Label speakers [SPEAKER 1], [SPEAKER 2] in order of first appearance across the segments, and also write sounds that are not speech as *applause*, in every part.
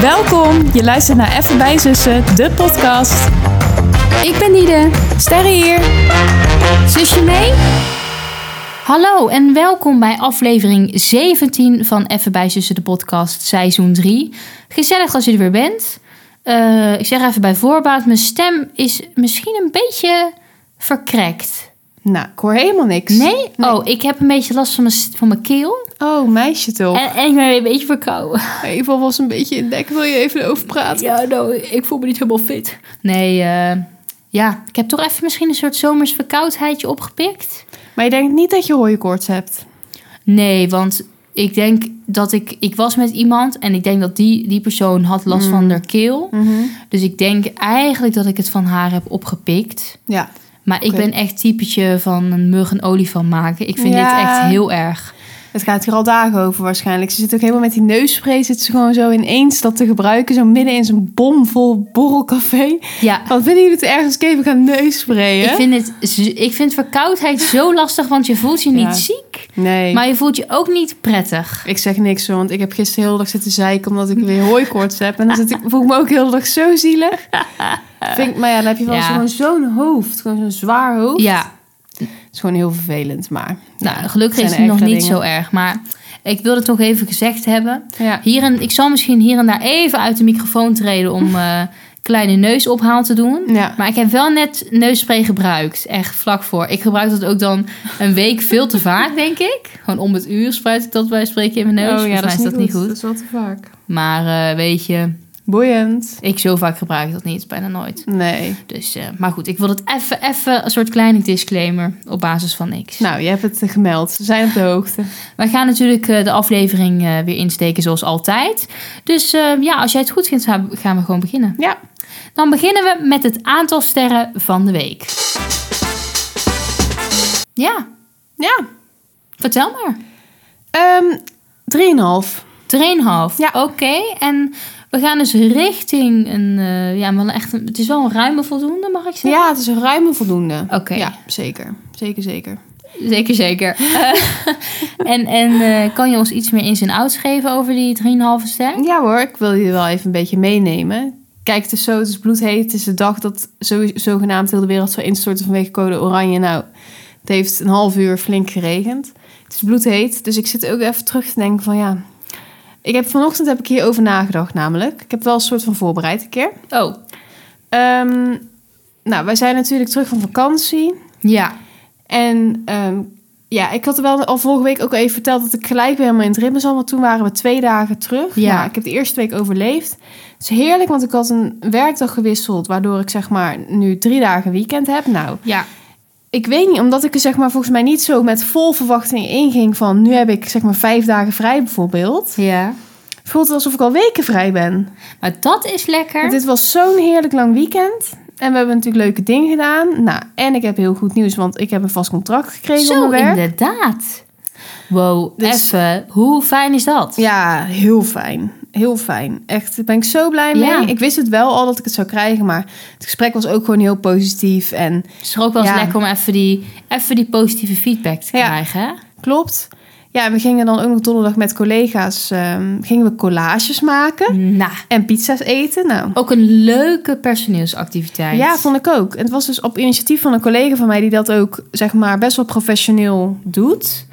[SPEAKER 1] Welkom, je luistert naar Even bij Zussen, de podcast.
[SPEAKER 2] Ik ben Nide.
[SPEAKER 1] Sterre hier.
[SPEAKER 2] Zusje mee? Hallo en welkom bij aflevering 17 van Even bij Zussen de podcast, seizoen 3. Gezellig als je er weer bent. Eh, ik zeg even bij voorbaat, mijn stem is misschien een beetje verkrekt.
[SPEAKER 1] Nou, ik hoor helemaal niks.
[SPEAKER 2] Nee? Oh, ik heb een beetje last van mijn, s- van mijn keel.
[SPEAKER 1] Oh, meisje toch.
[SPEAKER 2] En, en ik ben weer een beetje verkouden.
[SPEAKER 1] Eva was een beetje in dek, wil je even over praten?
[SPEAKER 2] *laughs* Ja, nou, ik voel me niet helemaal fit. Nee, eh, ja, ik heb toch even misschien een soort zomers verkoudheidje opgepikt.
[SPEAKER 1] Maar je denkt niet dat je hooikoorts hebt.
[SPEAKER 2] Nee, want ik denk dat ik... Ik was met iemand en ik denk dat die, die persoon had last
[SPEAKER 1] Hmm.
[SPEAKER 2] van haar keel.
[SPEAKER 1] Mhm.
[SPEAKER 2] Dus ik denk eigenlijk dat ik het van haar heb opgepikt.
[SPEAKER 1] Ja.
[SPEAKER 2] Maar ik
[SPEAKER 1] Oké.
[SPEAKER 2] ben echt typetje van een mug een olifant maken. Ik vind
[SPEAKER 1] Ja.
[SPEAKER 2] dit echt heel erg.
[SPEAKER 1] Het gaat hier al dagen over waarschijnlijk. Ze zit ook helemaal met die neusspray, zit ze gewoon zo ineens dat te gebruiken. Zo midden in zo'n bomvol borrelcafé.
[SPEAKER 2] Ja,
[SPEAKER 1] Wat vinden jullie het ergens even gaan neusprayen?
[SPEAKER 2] ik vind, het, z- ik vind verkoudheid
[SPEAKER 1] *laughs*
[SPEAKER 2] zo lastig, want je voelt je niet
[SPEAKER 1] Ja.
[SPEAKER 2] ziek.
[SPEAKER 1] Nee.
[SPEAKER 2] Maar je voelt je ook niet prettig.
[SPEAKER 1] Ik zeg niks hoor, want ik heb gisteren de hele dag zitten zeiken omdat ik weer hooikoorts heb. En dan
[SPEAKER 2] *laughs*
[SPEAKER 1] zit ik, voel ik me ook de hele dag zo zielig. Vind ik, maar ja, dan heb je wel
[SPEAKER 2] Ja.
[SPEAKER 1] gewoon zo'n hoofd, gewoon zo'n zwaar hoofd.
[SPEAKER 2] Ja,
[SPEAKER 1] Het is gewoon heel vervelend, maar...
[SPEAKER 2] nou, gelukkig
[SPEAKER 1] zijn
[SPEAKER 2] is het
[SPEAKER 1] er
[SPEAKER 2] nog niet
[SPEAKER 1] ergere
[SPEAKER 2] zo erg. Maar ik wilde het toch even gezegd hebben.
[SPEAKER 1] Ja.
[SPEAKER 2] Hier en, ik zal misschien hier en daar even uit de microfoon treden om eh, kleine neusophaal te doen.
[SPEAKER 1] ja.
[SPEAKER 2] Maar ik heb wel net neusspray gebruikt. Echt vlak voor. Ik gebruik dat ook dan een week veel te vaak, denk ik. Gewoon om het uur spuit ik dat bij spreken in mijn neus. Volgens mij is Oh dat niet goed.
[SPEAKER 1] Nou, Dat is wel te vaak.
[SPEAKER 2] Maar eh, weet je,
[SPEAKER 1] Boeiend.
[SPEAKER 2] ik zo vaak gebruik ik dat niet. Bijna nooit.
[SPEAKER 1] Nee.
[SPEAKER 2] Dus, eh, maar goed, ik wil het even, even een soort kleine disclaimer op basis van niks.
[SPEAKER 1] Nou, je hebt het eh, gemeld. Ze zijn op de hoogte.
[SPEAKER 2] Wij gaan natuurlijk eh, de aflevering eh, weer insteken zoals altijd. Dus eh, ja, als jij het goed vindt, gaan we- gaan we gewoon beginnen.
[SPEAKER 1] Ja.
[SPEAKER 2] Dan beginnen we met het aantal sterren van de week. Ja,
[SPEAKER 1] Ja.
[SPEAKER 2] vertel maar.
[SPEAKER 1] Ehm 3,5.
[SPEAKER 2] 3,5.
[SPEAKER 1] Ja.
[SPEAKER 2] Oké, en we gaan dus richting een... eh, ja, wel echt een, het is wel een ruime voldoende, mag ik zeggen?
[SPEAKER 1] Ja, het is een ruime voldoende.
[SPEAKER 2] Oké,
[SPEAKER 1] Ja, zeker. Zeker, zeker.
[SPEAKER 2] zeker, zeker. Eh, *laughs* en en eh, kan je ons iets meer ins en outs geven over die 3,5 ster?
[SPEAKER 1] Ja hoor, ik wil jullie wel even een beetje meenemen. Kijk, het is zo, het is bloedheet. Het is de dag dat zo, zogenaamd heel de wereld zou instorten vanwege code oranje. Nou, het heeft een half uur flink geregend. Het is bloedheet, dus ik zit ook even terug te denken van ja... Ik heb vanochtend heb ik hierover nagedacht namelijk. Ik heb wel een soort van voorbereid een keer.
[SPEAKER 2] Oh,
[SPEAKER 1] Ehm, nou, wij zijn natuurlijk terug van vakantie.
[SPEAKER 2] ja.
[SPEAKER 1] En ehm, ja, ik had wel al vorige week ook even verteld dat ik gelijk weer helemaal in het ritme zat. Want toen waren we twee dagen terug.
[SPEAKER 2] Ja.
[SPEAKER 1] Nou, ik heb de eerste week overleefd. Het is heerlijk, want ik had een werkdag gewisseld. Waardoor ik zeg maar nu drie dagen weekend heb. Nou,
[SPEAKER 2] Ja,
[SPEAKER 1] ik weet niet, omdat ik er zeg maar volgens mij niet zo met vol verwachting inging van... Nu heb ik zeg maar vijf dagen vrij bijvoorbeeld.
[SPEAKER 2] ja.
[SPEAKER 1] Voelt het alsof ik al weken vrij ben.
[SPEAKER 2] Maar dat is lekker.
[SPEAKER 1] Want dit was zo'n heerlijk lang weekend. En we hebben natuurlijk leuke dingen gedaan. Nou, en ik heb heel goed nieuws, want ik heb een vast contract gekregen op
[SPEAKER 2] Zo,
[SPEAKER 1] mijn werk.
[SPEAKER 2] inderdaad. Wow,
[SPEAKER 1] Dus-
[SPEAKER 2] even. Hoe fijn is dat?
[SPEAKER 1] Ja, heel fijn. Heel fijn. Echt, daar ben ik zo blij mee.
[SPEAKER 2] Ja.
[SPEAKER 1] Ik wist het wel al dat ik het zou krijgen, maar het gesprek was ook gewoon heel positief. En
[SPEAKER 2] Het is toch ook wel eens
[SPEAKER 1] Ja.
[SPEAKER 2] lekker om even die, even die positieve feedback te
[SPEAKER 1] Ja.
[SPEAKER 2] krijgen. hè?
[SPEAKER 1] klopt. Ja, we gingen dan ook nog donderdag met collega's, ehm, gingen we collages maken
[SPEAKER 2] Nou,
[SPEAKER 1] en pizza's eten. Nou,
[SPEAKER 2] ook een leuke personeelsactiviteit.
[SPEAKER 1] ja, vond ik ook. En het was dus op initiatief van een collega van mij die dat ook, zeg maar, best wel professioneel doet.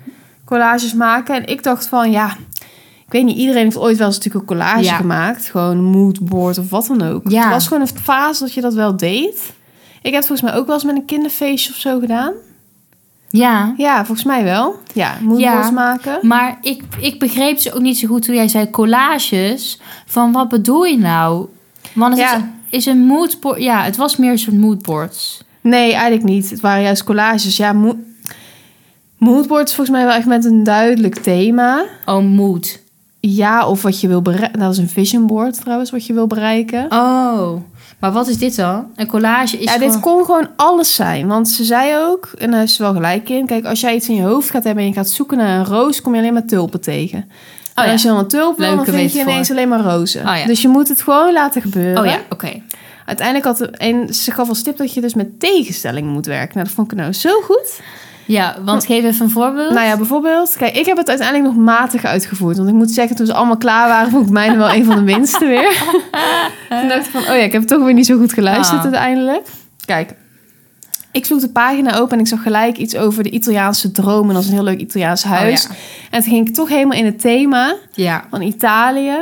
[SPEAKER 1] Collages maken. En ik dacht van, ja, ik weet niet, iedereen heeft ooit wel eens natuurlijk een collage
[SPEAKER 2] Ja.
[SPEAKER 1] gemaakt. Gewoon een moodboard of wat dan ook.
[SPEAKER 2] Ja.
[SPEAKER 1] Het was gewoon een fase dat je dat wel deed. Ik heb het volgens mij ook wel eens met een kinderfeestje of zo gedaan.
[SPEAKER 2] ja.
[SPEAKER 1] Ja, volgens mij wel. Ja, moodboards
[SPEAKER 2] Ja.
[SPEAKER 1] maken.
[SPEAKER 2] Maar ik, ik begreep ze ook niet zo goed toen jij zei collages. Van wat bedoel je nou? Want het
[SPEAKER 1] Ja.
[SPEAKER 2] is, is een moodboard. Ja, het was meer zo'n moodboards.
[SPEAKER 1] Nee, eigenlijk niet. Het waren juist collages. Ja, mo moodboards volgens mij wel echt met een duidelijk thema.
[SPEAKER 2] Oh, mood.
[SPEAKER 1] Ja, of wat je wil bereiken. Dat is een vision board trouwens, wat je wil bereiken.
[SPEAKER 2] Oh. Maar wat is dit dan? Een collage is
[SPEAKER 1] ja, dit
[SPEAKER 2] gewoon...
[SPEAKER 1] kon gewoon alles zijn. Want ze zei ook, en daar is ze wel gelijk in... Kijk, als jij iets in je hoofd gaat hebben en je gaat zoeken naar een roos... kom je alleen maar tulpen tegen. en
[SPEAKER 2] Oh ja.
[SPEAKER 1] als je dan een tulp wil, dan
[SPEAKER 2] Leuke
[SPEAKER 1] vind je
[SPEAKER 2] metafoor.
[SPEAKER 1] ineens alleen maar rozen.
[SPEAKER 2] Oh ja.
[SPEAKER 1] Dus je moet het gewoon laten gebeuren.
[SPEAKER 2] Oh ja, oké.
[SPEAKER 1] Uiteindelijk had... de- En ze gaf als tip dat je dus met tegenstellingen moet werken. Nou, dat vond ik nou zo goed.
[SPEAKER 2] Ja, want geef even een voorbeeld. Oh
[SPEAKER 1] Nou ja, bijvoorbeeld, kijk, ik heb het uiteindelijk nog matig uitgevoerd. Want ik moet zeggen, toen ze allemaal klaar waren, vond ik mijne wel een van de minste
[SPEAKER 2] *laughs*
[SPEAKER 1] weer. toen dacht ik van, oh ja, ik heb toch weer niet zo goed geluisterd
[SPEAKER 2] Ah.
[SPEAKER 1] uiteindelijk. Kijk, ik sloeg de pagina open en ik zag gelijk iets over de Italiaanse droom. En dat is een heel leuk Italiaans huis.
[SPEAKER 2] Oh,
[SPEAKER 1] En toen ging ik toch helemaal in het thema
[SPEAKER 2] ja.
[SPEAKER 1] van Italië.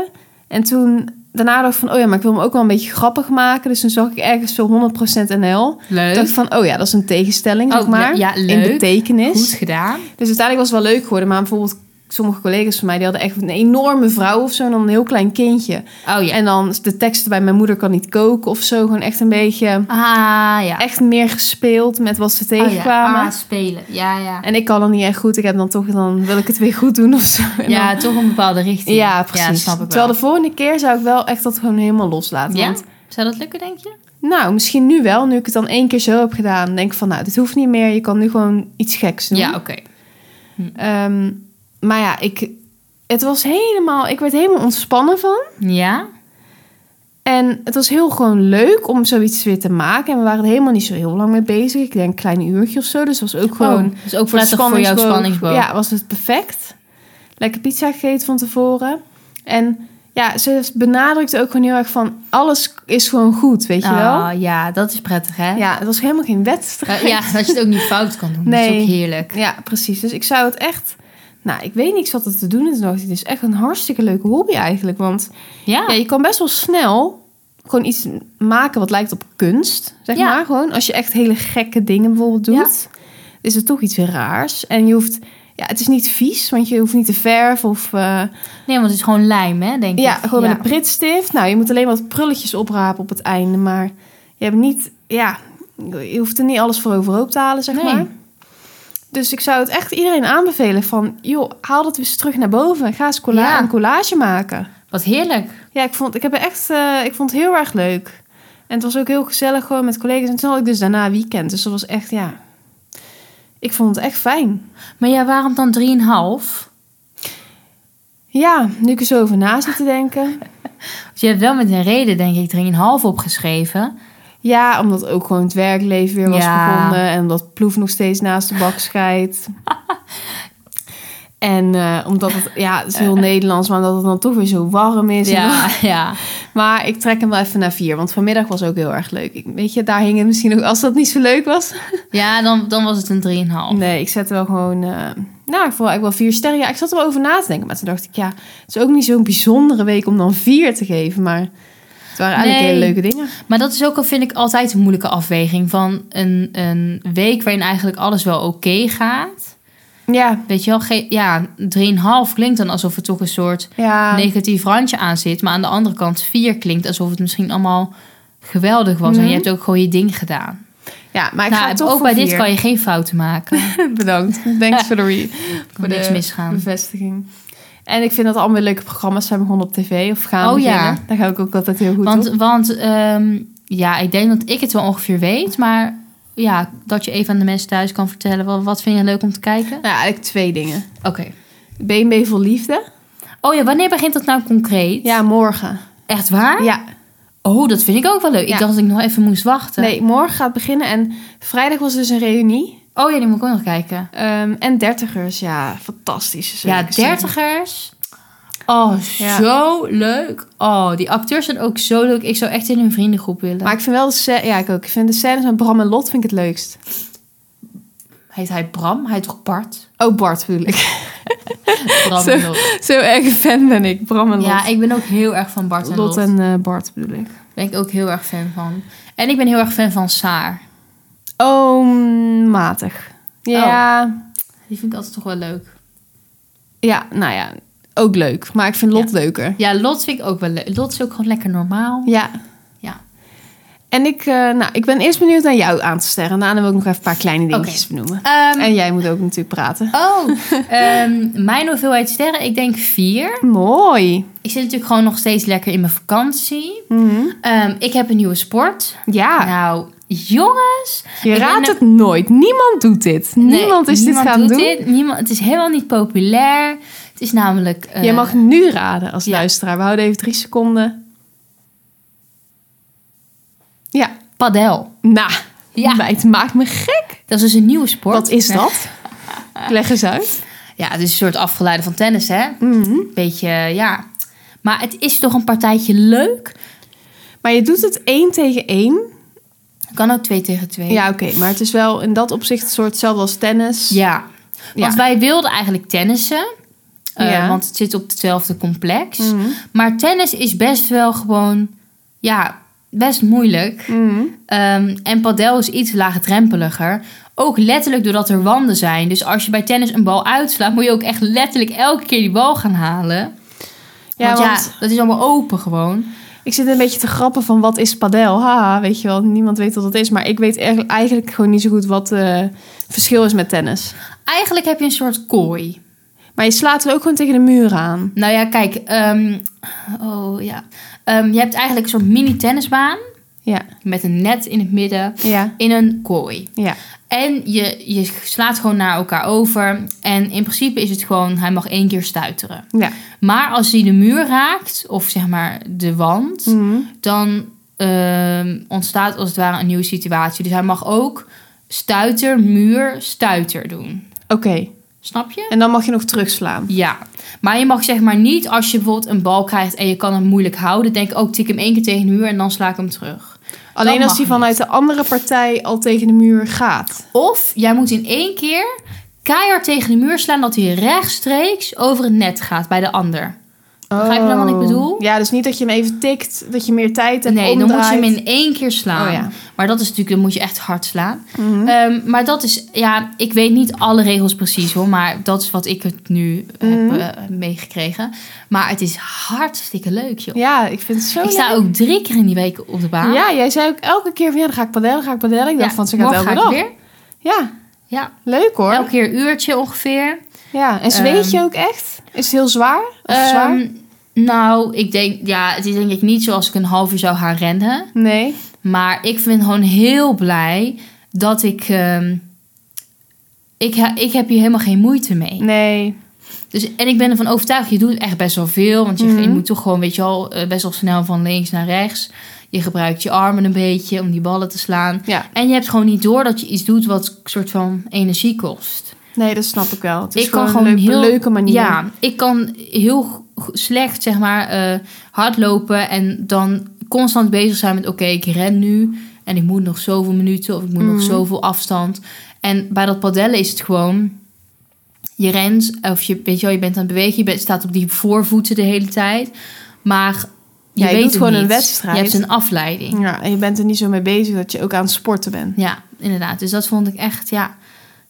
[SPEAKER 1] En toen daarna dacht ik van, oh ja, maar ik wil hem ook wel een beetje grappig maken. Dus toen zag ik ergens zo 100% NL.
[SPEAKER 2] ja. Leuk.
[SPEAKER 1] Ik dacht van, oh ja, dat is een tegenstelling,
[SPEAKER 2] Oh,
[SPEAKER 1] zeg maar.
[SPEAKER 2] ja, ja,
[SPEAKER 1] In
[SPEAKER 2] leuk.
[SPEAKER 1] betekenis.
[SPEAKER 2] Goed gedaan.
[SPEAKER 1] Dus uiteindelijk was het wel leuk geworden. Maar bijvoorbeeld sommige collega's van mij... die hadden echt een enorme vrouw of zo... en dan een heel klein kindje.
[SPEAKER 2] Oh ja.
[SPEAKER 1] En dan de teksten bij mijn moeder kan niet koken of zo. Gewoon echt een beetje...
[SPEAKER 2] ah ja.
[SPEAKER 1] echt meer gespeeld met wat ze tegenkwamen.
[SPEAKER 2] Oh, ja. Ah, spelen. Ja, ja.
[SPEAKER 1] En ik kan het niet echt goed. Ik heb dan toch... dan wil ik het weer goed doen of zo. *laughs* En
[SPEAKER 2] ja,
[SPEAKER 1] dan-
[SPEAKER 2] toch een bepaalde richting.
[SPEAKER 1] ja, precies.
[SPEAKER 2] Ja, snap ik
[SPEAKER 1] Terwijl
[SPEAKER 2] wel.
[SPEAKER 1] de volgende keer zou ik wel echt dat gewoon helemaal loslaten.
[SPEAKER 2] Ja?
[SPEAKER 1] Want,
[SPEAKER 2] Zou dat lukken, denk je?
[SPEAKER 1] nou, misschien nu wel. Nu ik het dan één keer zo heb gedaan... denk ik van, nou, dit hoeft niet meer. Je kan nu gewoon iets geks doen.
[SPEAKER 2] Ja, oké.
[SPEAKER 1] Ehm, maar ja, ik, het was helemaal, ik werd helemaal ontspannen van.
[SPEAKER 2] Ja?
[SPEAKER 1] En het was heel gewoon leuk om zoiets weer te maken. En we waren er helemaal niet zo heel lang mee bezig. Ik denk een klein uurtje of zo. Dus het was ook gewoon...
[SPEAKER 2] Oh, dus ook
[SPEAKER 1] voor de
[SPEAKER 2] prettig voor jouw spanningsboog.
[SPEAKER 1] Ja, was het perfect. Lekker pizza gegeten van tevoren. En ja, ze benadrukte ook gewoon heel erg van... Alles is gewoon goed, weet je wel?
[SPEAKER 2] Ah, ja, dat is prettig, hè?
[SPEAKER 1] Ja, het was helemaal geen wedstrijd.
[SPEAKER 2] Eh, ja, dat je het ook niet fout kan doen. Dat
[SPEAKER 1] Nee.
[SPEAKER 2] is ook heerlijk.
[SPEAKER 1] Ja, precies. Dus ik zou het echt... Nou, ik weet niet, ik zat het te doen en toen dacht ik, dit is echt een hartstikke leuke hobby eigenlijk. Want ja,
[SPEAKER 2] Ja.
[SPEAKER 1] je kan best wel snel gewoon iets maken wat lijkt op kunst, zeg
[SPEAKER 2] Ja.
[SPEAKER 1] maar. Gewoon als je echt hele gekke dingen bijvoorbeeld doet, is het toch iets weer raars. En je hoeft... Ja, het is niet vies, want je hoeft niet te verven of... eh,
[SPEAKER 2] Nee, want het is gewoon lijm, hè, denk
[SPEAKER 1] ja,
[SPEAKER 2] ik.
[SPEAKER 1] gewoon met een pritstift. Nou, je moet alleen wat prulletjes oprapen op het einde, maar je hebt niet... Ja, je hoeft er niet alles voor overhoop te halen, zeg
[SPEAKER 2] Nee.
[SPEAKER 1] maar. Dus ik zou het echt iedereen aanbevelen van... joh, haal dat weer eens terug naar boven. Ga eens colla-
[SPEAKER 2] Ja.
[SPEAKER 1] een collage maken.
[SPEAKER 2] Wat heerlijk.
[SPEAKER 1] Ja, ik vond, ik heb er echt, eh, ik vond het heel erg leuk. En het was ook heel gezellig gewoon met collega's. En toen had ik dus daarna weekend. Dus dat was echt, ja... Ik vond het echt fijn.
[SPEAKER 2] Maar ja, waarom dan 3,5?
[SPEAKER 1] Ja, nu ik er zo over na zit te denken.
[SPEAKER 2] Dus je hebt wel met een reden, denk ik, 3,5 opgeschreven.
[SPEAKER 1] Ja, omdat ook gewoon het werkleven weer was
[SPEAKER 2] Ja.
[SPEAKER 1] begonnen. En omdat Ploef nog steeds naast de bak
[SPEAKER 2] *laughs*
[SPEAKER 1] scheidt. en eh, omdat het, ja, het is heel Nederlands. Maar omdat het dan toch weer zo warm is. En dan-
[SPEAKER 2] Eh. Ja, ja.
[SPEAKER 1] Maar ik trek hem wel even naar vier. Want vanmiddag was ook heel erg leuk. Ik, weet je, daar hing het misschien ook als dat niet zo leuk was.
[SPEAKER 2] Ja, dan, dan was het een 3,5.
[SPEAKER 1] Nee, ik zette wel gewoon... eh, nou, ik vond eigenlijk wel vier sterren. Ja, ik zat er wel over na te denken. Maar toen dacht ik, ja, het is ook niet zo'n bijzondere week om dan vier te geven. Maar het waren eigenlijk
[SPEAKER 2] Nee.
[SPEAKER 1] hele leuke dingen.
[SPEAKER 2] Maar dat is ook al, vind ik, altijd een moeilijke afweging. Van een, een week waarin eigenlijk alles wel oké gaat.
[SPEAKER 1] Ja,
[SPEAKER 2] Weet je wel, ge- ja, 3,5 klinkt dan alsof er toch een soort
[SPEAKER 1] ja.
[SPEAKER 2] negatief randje aan zit. Maar aan de andere kant, 4 klinkt alsof het misschien allemaal geweldig was. En
[SPEAKER 1] Mhm.
[SPEAKER 2] je hebt ook gewoon je ding gedaan.
[SPEAKER 1] ja maar ik
[SPEAKER 2] nou,
[SPEAKER 1] ga toch
[SPEAKER 2] ook
[SPEAKER 1] voor
[SPEAKER 2] bij dit
[SPEAKER 1] vier.
[SPEAKER 2] kan je geen fouten maken. Er
[SPEAKER 1] *laughs* Bedankt. Thanks voor de, re-
[SPEAKER 2] *laughs* kan niks misgaan.
[SPEAKER 1] bevestiging. En ik vind dat allemaal weer leuke programma's zijn begonnen op tv of gaan
[SPEAKER 2] Oh,
[SPEAKER 1] beginnen.
[SPEAKER 2] ja.
[SPEAKER 1] Daar ga ik ook altijd heel goed
[SPEAKER 2] Want,
[SPEAKER 1] op.
[SPEAKER 2] want ehm, ja, ik denk dat ik het wel ongeveer weet. Maar ja, dat je even aan de mensen thuis kan vertellen. Wat, wat vind je leuk om te kijken?
[SPEAKER 1] Nou, ja, eigenlijk twee dingen.
[SPEAKER 2] Oké.
[SPEAKER 1] BNB Vol Liefde.
[SPEAKER 2] Oh ja, wanneer begint dat nou concreet?
[SPEAKER 1] Ja, morgen.
[SPEAKER 2] Echt waar?
[SPEAKER 1] Ja,
[SPEAKER 2] Oh, dat vind ik ook wel leuk.
[SPEAKER 1] Ja.
[SPEAKER 2] Ik dacht dat ik nog even moest wachten.
[SPEAKER 1] nee, morgen gaat beginnen. En vrijdag was dus een reunie.
[SPEAKER 2] Oh ja, die moet ik ook nog kijken.
[SPEAKER 1] Ehm, en dertigers, ja, fantastisch.
[SPEAKER 2] Ja, dertigers. Oh,
[SPEAKER 1] Ja.
[SPEAKER 2] zo leuk. Oh, die acteurs zijn ook zo leuk. Ik zou echt in hun vriendengroep willen.
[SPEAKER 1] Maar ik vind wel de scè- ja, ik ook. Ik vind de scènes met Bram en Lot vind ik het leukst.
[SPEAKER 2] Heet hij Bram? Hij heet
[SPEAKER 1] *laughs*
[SPEAKER 2] toch Bart?
[SPEAKER 1] Oh, Bart bedoel ik.
[SPEAKER 2] Bram
[SPEAKER 1] Zo.
[SPEAKER 2] en Lot.
[SPEAKER 1] Zo erg een fan ben ik, Bram en Lot.
[SPEAKER 2] Ja, ik ben ook heel erg van Bart en Lot.
[SPEAKER 1] Lot en eh, Bart bedoel ik.
[SPEAKER 2] Ben ik ook heel erg fan van. En ik ben heel erg fan van Saar.
[SPEAKER 1] Oh, mm, matig.
[SPEAKER 2] Oh.
[SPEAKER 1] Ja,
[SPEAKER 2] Die vind ik altijd toch wel leuk.
[SPEAKER 1] ja, nou ja, ook leuk. Maar ik vind Lot leuker.
[SPEAKER 2] Ja, Lot vind ik ook wel leuk. Lot is ook gewoon lekker normaal.
[SPEAKER 1] Ja.
[SPEAKER 2] Ja.
[SPEAKER 1] En ik, eh, nou, ik ben eerst benieuwd naar jou aan te sterren. Daarna wil ik nog even een paar kleine dingetjes benoemen.
[SPEAKER 2] Ehm,
[SPEAKER 1] En jij moet ook natuurlijk praten.
[SPEAKER 2] Oh, ehm, mijn hoeveelheid sterren? Ik denk vier.
[SPEAKER 1] Mooi.
[SPEAKER 2] Ik zit natuurlijk gewoon nog steeds lekker in mijn vakantie.
[SPEAKER 1] Mhm.
[SPEAKER 2] Ehm, ik heb een nieuwe sport.
[SPEAKER 1] Ja,
[SPEAKER 2] Nou, jongens.
[SPEAKER 1] Ah. je
[SPEAKER 2] ik ben
[SPEAKER 1] raadt
[SPEAKER 2] er-
[SPEAKER 1] het nooit. Niemand doet dit.
[SPEAKER 2] Nee,
[SPEAKER 1] niemand is
[SPEAKER 2] niemand
[SPEAKER 1] dit gaan
[SPEAKER 2] doet
[SPEAKER 1] doen.
[SPEAKER 2] Dit. Niemand, het is helemaal niet populair. Het is namelijk... eh,
[SPEAKER 1] Jij mag nu raden als
[SPEAKER 2] ja.
[SPEAKER 1] luisteraar. We houden even drie seconden. Ja,
[SPEAKER 2] Padel.
[SPEAKER 1] nou,
[SPEAKER 2] Ja,
[SPEAKER 1] maar het maakt me gek.
[SPEAKER 2] dat is dus een nieuwe sport. *laughs*
[SPEAKER 1] Wat is dat? Leg eens uit.
[SPEAKER 2] Ja, het is een soort afgeleide van tennis, hè?
[SPEAKER 1] Mhm.
[SPEAKER 2] Beetje, ja. Maar het is toch een partijtje leuk?
[SPEAKER 1] Maar je doet het één tegen één.
[SPEAKER 2] Kan ook twee tegen twee.
[SPEAKER 1] Ja, oké. maar het is wel in dat opzicht een soort hetzelfde als tennis.
[SPEAKER 2] Ja. Want
[SPEAKER 1] Ja.
[SPEAKER 2] wij wilden eigenlijk tennissen. eh,
[SPEAKER 1] Ja.
[SPEAKER 2] Want het zit op hetzelfde complex.
[SPEAKER 1] Mhm.
[SPEAKER 2] Maar tennis is best wel gewoon... Ja, best moeilijk.
[SPEAKER 1] Mhm.
[SPEAKER 2] Ehm, en padel is iets laagdrempeliger. Ook letterlijk doordat er wanden zijn. Dus als je bij tennis een bal uitslaat... moet je ook echt letterlijk elke keer die bal gaan halen.
[SPEAKER 1] Ja,
[SPEAKER 2] want,
[SPEAKER 1] want,
[SPEAKER 2] ja, dat is allemaal open gewoon.
[SPEAKER 1] ik zit een beetje te grappen van wat is padel? Haha, weet je wel, niemand weet wat dat is. Maar ik weet er- eigenlijk gewoon niet zo goed wat eh, het verschil is met tennis.
[SPEAKER 2] Eigenlijk heb je een soort kooi.
[SPEAKER 1] Maar je slaat er ook gewoon tegen de muur aan.
[SPEAKER 2] Nou ja, kijk. ehm, oh ja. Ehm, je hebt eigenlijk een soort mini-tennisbaan.
[SPEAKER 1] Ja,
[SPEAKER 2] Met een net in het midden.
[SPEAKER 1] ja,
[SPEAKER 2] In een kooi.
[SPEAKER 1] ja.
[SPEAKER 2] En je, je slaat gewoon naar elkaar over. En in principe is het gewoon... Hij mag één keer stuiteren.
[SPEAKER 1] ja.
[SPEAKER 2] Maar als hij de muur raakt... Of zeg maar de wand...
[SPEAKER 1] Mhm.
[SPEAKER 2] dan ehm, ontstaat als het ware een nieuwe situatie. Dus hij mag ook stuiter, muur, stuiter doen.
[SPEAKER 1] Oké,
[SPEAKER 2] Snap je?
[SPEAKER 1] en dan mag je nog terugslaan.
[SPEAKER 2] Ja. Maar je mag zeg maar niet als je bijvoorbeeld een bal krijgt en je kan hem moeilijk houden. Denk ook, tik hem één keer tegen de muur en dan sla ik hem terug.
[SPEAKER 1] Alleen
[SPEAKER 2] mag
[SPEAKER 1] als die
[SPEAKER 2] niet.
[SPEAKER 1] vanuit de andere partij al tegen de muur gaat.
[SPEAKER 2] Of jij moet in één keer keihard tegen de muur slaan dat hij rechtstreeks over het net gaat bij de ander. Begrijp je dan wat ik
[SPEAKER 1] Oh.
[SPEAKER 2] bedoel?
[SPEAKER 1] Ja, dus niet dat je hem even tikt, dat je meer tijd hebt
[SPEAKER 2] Nee, dan moet je hem
[SPEAKER 1] omdraait.
[SPEAKER 2] in één keer slaan.
[SPEAKER 1] Oh ja.
[SPEAKER 2] Maar dat is natuurlijk, dan moet je echt hard slaan.
[SPEAKER 1] Mhm.
[SPEAKER 2] Ehm, maar dat is, ja, ik weet niet alle regels precies hoor, maar dat is wat ik het nu
[SPEAKER 1] Mhm.
[SPEAKER 2] heb eh, meegekregen. Maar het is hartstikke leuk joh.
[SPEAKER 1] Ja, ik vind het zo
[SPEAKER 2] ik sta
[SPEAKER 1] leuk.
[SPEAKER 2] ook drie keer in die week op de baan.
[SPEAKER 1] Ja, jij zei ook elke keer van ja, dan ga ik padellen, dan ga ik padellen. Ik dacht van ze gaat
[SPEAKER 2] morgen
[SPEAKER 1] elke
[SPEAKER 2] ga ik
[SPEAKER 1] dag.
[SPEAKER 2] weer.
[SPEAKER 1] Ja,
[SPEAKER 2] Ja,
[SPEAKER 1] leuk hoor.
[SPEAKER 2] elke keer een uurtje ongeveer.
[SPEAKER 1] Ja, en zweet je
[SPEAKER 2] Ehm,
[SPEAKER 1] ook echt? Is het heel zwaar? Of zwaar?
[SPEAKER 2] Ehm, nou, ik denk, ja, het is denk ik niet zoals ik een half uur zou gaan rennen.
[SPEAKER 1] Nee.
[SPEAKER 2] Maar ik ben gewoon heel blij dat ik. ehm, ik, ha- ik heb hier helemaal geen moeite mee.
[SPEAKER 1] Nee.
[SPEAKER 2] Dus, en ik ben ervan overtuigd, je doet echt best wel veel. Want je,
[SPEAKER 1] Mhm.
[SPEAKER 2] je moet toch gewoon, weet je al, best wel snel van links naar rechts. Je gebruikt je armen een beetje om die ballen te slaan.
[SPEAKER 1] Ja,
[SPEAKER 2] En je hebt gewoon niet door dat je iets doet wat soort van energie kost.
[SPEAKER 1] nee, dat snap ik wel. Het is
[SPEAKER 2] Ik kan
[SPEAKER 1] een
[SPEAKER 2] gewoon
[SPEAKER 1] leuk-
[SPEAKER 2] heel-
[SPEAKER 1] leuke manier.
[SPEAKER 2] Ja, ik kan heel g- g- slecht, zeg maar, eh, hardlopen en dan constant bezig zijn met... oké, ik ren nu en ik moet nog zoveel minuten of ik moet nog
[SPEAKER 1] Mhm.
[SPEAKER 2] zoveel afstand. En bij dat padellen is het gewoon... je rent of je, weet je, wel, je bent aan het bewegen, je bent, staat op die voorvoeten de hele tijd. Maar je,
[SPEAKER 1] Ja, je
[SPEAKER 2] weet
[SPEAKER 1] doet
[SPEAKER 2] het
[SPEAKER 1] gewoon
[SPEAKER 2] niet.
[SPEAKER 1] een wedstrijd.
[SPEAKER 2] Je hebt een afleiding.
[SPEAKER 1] Ja, en je bent er niet zo mee bezig dat je ook aan het sporten bent.
[SPEAKER 2] Ja, inderdaad. Dus dat vond ik echt, ja,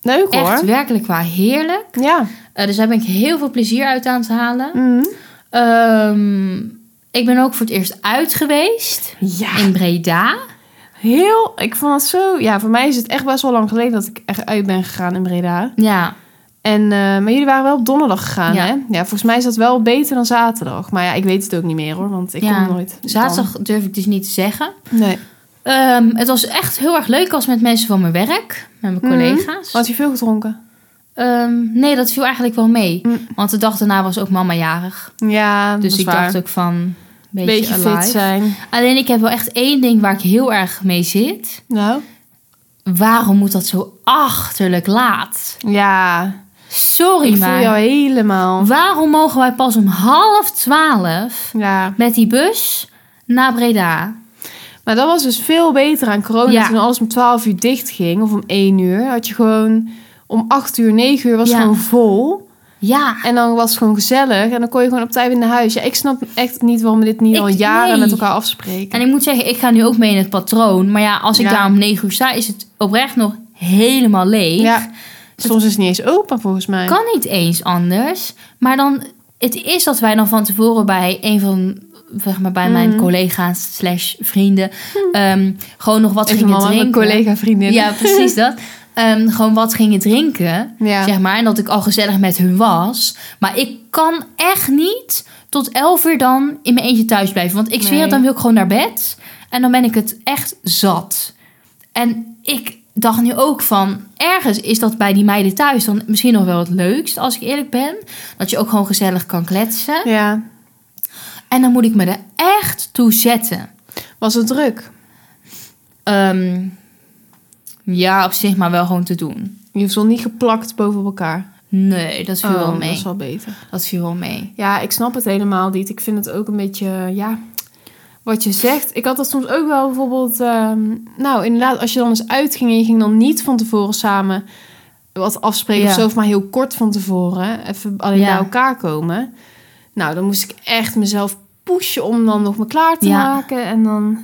[SPEAKER 1] Leuk Mhm. hoor.
[SPEAKER 2] echt werkelijk waar heerlijk.
[SPEAKER 1] Ja.
[SPEAKER 2] Eh, dus daar ben ik heel veel plezier uit aan het halen.
[SPEAKER 1] Mhm.
[SPEAKER 2] Ehm, ik ben ook voor het eerst uit geweest
[SPEAKER 1] Ja.
[SPEAKER 2] in Breda.
[SPEAKER 1] Heel, ik vond het zo... Ja, voor mij is het echt best wel lang geleden dat ik echt uit ben gegaan in Breda.
[SPEAKER 2] Ja,
[SPEAKER 1] En, eh, maar jullie waren wel op donderdag gegaan,
[SPEAKER 2] Ja.
[SPEAKER 1] hè? Ja, volgens mij is dat wel beter dan zaterdag. Maar ja, ik weet het ook niet meer hoor, want ik
[SPEAKER 2] Ja.
[SPEAKER 1] kom nooit. dan.
[SPEAKER 2] zaterdag durf ik dus niet te zeggen.
[SPEAKER 1] Nee.
[SPEAKER 2] Ehm, het was echt heel erg leuk. Ik was met mensen van mijn werk, met
[SPEAKER 1] Mhm.
[SPEAKER 2] mijn collega's.
[SPEAKER 1] Had je veel gedronken?
[SPEAKER 2] Ehm, nee, dat viel eigenlijk wel mee.
[SPEAKER 1] Mm.
[SPEAKER 2] Want de dag daarna was ook mama jarig.
[SPEAKER 1] Ja, dat
[SPEAKER 2] Dus
[SPEAKER 1] is
[SPEAKER 2] ik
[SPEAKER 1] waar.
[SPEAKER 2] dacht ook van, een beetje,
[SPEAKER 1] beetje
[SPEAKER 2] alive.
[SPEAKER 1] fit zijn.
[SPEAKER 2] Alleen ik heb wel echt één ding waar ik heel erg mee zit.
[SPEAKER 1] Nou?
[SPEAKER 2] Waarom moet dat zo achterlijk laat?
[SPEAKER 1] Ja,
[SPEAKER 2] Sorry,
[SPEAKER 1] ik voel
[SPEAKER 2] maar...
[SPEAKER 1] jou helemaal.
[SPEAKER 2] Waarom mogen wij pas om half twaalf
[SPEAKER 1] Ja,
[SPEAKER 2] met die bus naar Breda?
[SPEAKER 1] maar dat was dus veel beter aan corona.
[SPEAKER 2] Ja.
[SPEAKER 1] Toen alles om 12 uur dicht ging, of om 1 uur, had je gewoon om 8 uur, 9 uur was
[SPEAKER 2] Ja.
[SPEAKER 1] het gewoon vol.
[SPEAKER 2] Ja,
[SPEAKER 1] En dan was het gewoon gezellig. En dan kon je gewoon op tijd weer naar huis. Ja, ik snap echt niet waarom we dit niet
[SPEAKER 2] Ik-
[SPEAKER 1] al jaren
[SPEAKER 2] nee.
[SPEAKER 1] met elkaar afspreken.
[SPEAKER 2] en ik moet zeggen, ik ga nu ook mee in het patroon. Maar ja, als ik
[SPEAKER 1] Ja.
[SPEAKER 2] daar om negen uur sta, is het oprecht nog helemaal leeg.
[SPEAKER 1] ja, soms is het niet eens open volgens mij.
[SPEAKER 2] Kan niet eens anders. Maar dan, het is dat wij dan van tevoren bij een van, zeg maar, bij mijn
[SPEAKER 1] Mhm.
[SPEAKER 2] collega's slash vrienden, ehm, gewoon nog wat
[SPEAKER 1] Mm. Even
[SPEAKER 2] gingen
[SPEAKER 1] mama, mijn
[SPEAKER 2] drinken.
[SPEAKER 1] collega, vriendin.
[SPEAKER 2] Ja, precies dat.
[SPEAKER 1] *laughs*
[SPEAKER 2] Ehm, gewoon wat gingen drinken.
[SPEAKER 1] Ja.
[SPEAKER 2] Zeg maar, en dat ik al gezellig met hun was. Maar ik kan echt niet tot elf uur dan in mijn eentje thuis blijven. Want ik zweer
[SPEAKER 1] Nee.
[SPEAKER 2] het, dan wil ik gewoon naar bed. En dan ben ik het echt zat. En ik dacht nu ook van... Ergens is dat bij die meiden thuis dan misschien nog wel het leukst, als ik eerlijk ben. Dat je ook gewoon gezellig kan kletsen.
[SPEAKER 1] ja,
[SPEAKER 2] En dan moet ik me er echt toe zetten.
[SPEAKER 1] was het druk.
[SPEAKER 2] Ehm, ja, op zich maar wel gewoon te doen.
[SPEAKER 1] Je stond niet geplakt boven op elkaar.
[SPEAKER 2] Nee, dat viel
[SPEAKER 1] Oh,
[SPEAKER 2] wel mee.
[SPEAKER 1] dat
[SPEAKER 2] Dat,
[SPEAKER 1] is wel beter.
[SPEAKER 2] viel wel mee.
[SPEAKER 1] Ja, ik snap het helemaal niet. Ik vind het ook een beetje, ja, wat je zegt. Ik had dat soms ook wel bijvoorbeeld, ehm, nou inderdaad, als je dan eens uitging en je ging dan niet van tevoren samen wat afspreken
[SPEAKER 2] Ja.
[SPEAKER 1] of zo, of maar heel kort van tevoren, even alleen
[SPEAKER 2] Ja.
[SPEAKER 1] bij elkaar komen. Nou, dan moest ik echt mezelf pushen om dan nog me klaar te
[SPEAKER 2] Ja.
[SPEAKER 1] maken en dan,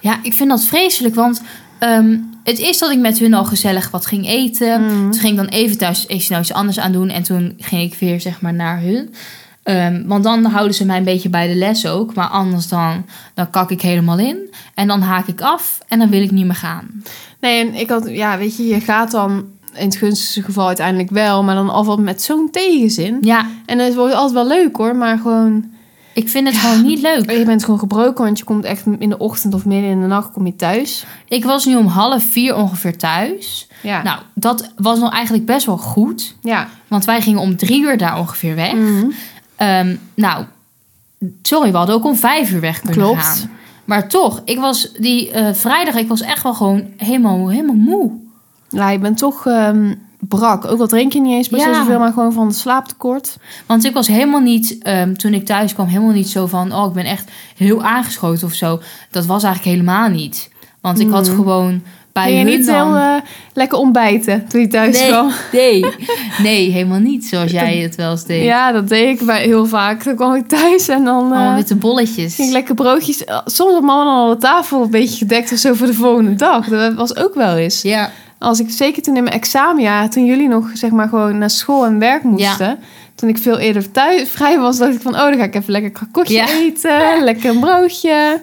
[SPEAKER 2] Ja, ik vind dat vreselijk, want ehm, het is dat ik met hun al gezellig wat ging eten.
[SPEAKER 1] Mhm.
[SPEAKER 2] Toen ging ik dan even thuis even snel iets anders aan doen en toen ging ik weer zeg maar naar hun. Ehm, want dan houden ze mij een beetje bij de les ook, maar anders dan, dan kak ik helemaal in en dan haak ik af en dan wil ik niet meer gaan.
[SPEAKER 1] Nee, en ik had, ja, weet je, je gaat dan in het gunstigste geval uiteindelijk wel, maar dan altijd met zo'n tegenzin.
[SPEAKER 2] Ja,
[SPEAKER 1] En het wordt altijd wel leuk hoor, maar gewoon,
[SPEAKER 2] ik vind het gewoon niet leuk.
[SPEAKER 1] Oh, je bent gewoon gebroken, want je komt echt in de ochtend of midden in de nacht kom je thuis.
[SPEAKER 2] Ik was nu om half vier ongeveer thuis.
[SPEAKER 1] Ja,
[SPEAKER 2] Nou, dat was nog eigenlijk best wel goed.
[SPEAKER 1] ja.
[SPEAKER 2] Want wij gingen om drie uur daar ongeveer weg.
[SPEAKER 1] Mhm.
[SPEAKER 2] Ehm, nou, sorry, we hadden ook om vijf uur weg kunnen
[SPEAKER 1] Klopt.
[SPEAKER 2] gaan. Maar toch, ik was die eh, vrijdag, ik was echt wel gewoon helemaal, helemaal moe.
[SPEAKER 1] Ja, je bent toch ehm, brak. Ook al drink je niet eens per se
[SPEAKER 2] Ja.
[SPEAKER 1] zoveel, maar gewoon van het slaaptekort.
[SPEAKER 2] Want ik was helemaal niet, ehm, toen ik thuis kwam, helemaal niet zo van... oh, ik ben echt heel aangeschoten of zo. Dat was eigenlijk helemaal niet. Want ik had
[SPEAKER 1] Mm.
[SPEAKER 2] gewoon bij
[SPEAKER 1] Ging
[SPEAKER 2] hun
[SPEAKER 1] je niet heel
[SPEAKER 2] dan...
[SPEAKER 1] eh, lekker ontbijten toen je thuis
[SPEAKER 2] nee,
[SPEAKER 1] kwam? *laughs*
[SPEAKER 2] nee, nee, helemaal niet zoals jij het wel eens deed.
[SPEAKER 1] Ja, dat deed ik bij, heel vaak. Dan kwam ik thuis en dan... eh,
[SPEAKER 2] Allemaal witte bolletjes.
[SPEAKER 1] Ging ik lekker broodjes. eh, Soms had mama dan al de tafel een beetje gedekt of zo voor de volgende dag. Dat was ook wel eens.
[SPEAKER 2] Ja,
[SPEAKER 1] Als ik zeker toen in mijn examenjaar, toen jullie nog zeg maar gewoon naar school en werk moesten. Toen ik veel eerder thuis vrij was, dacht ik van oh, dan ga ik even lekker krakotje
[SPEAKER 2] Ja.
[SPEAKER 1] eten. *laughs* Lekker een broodje.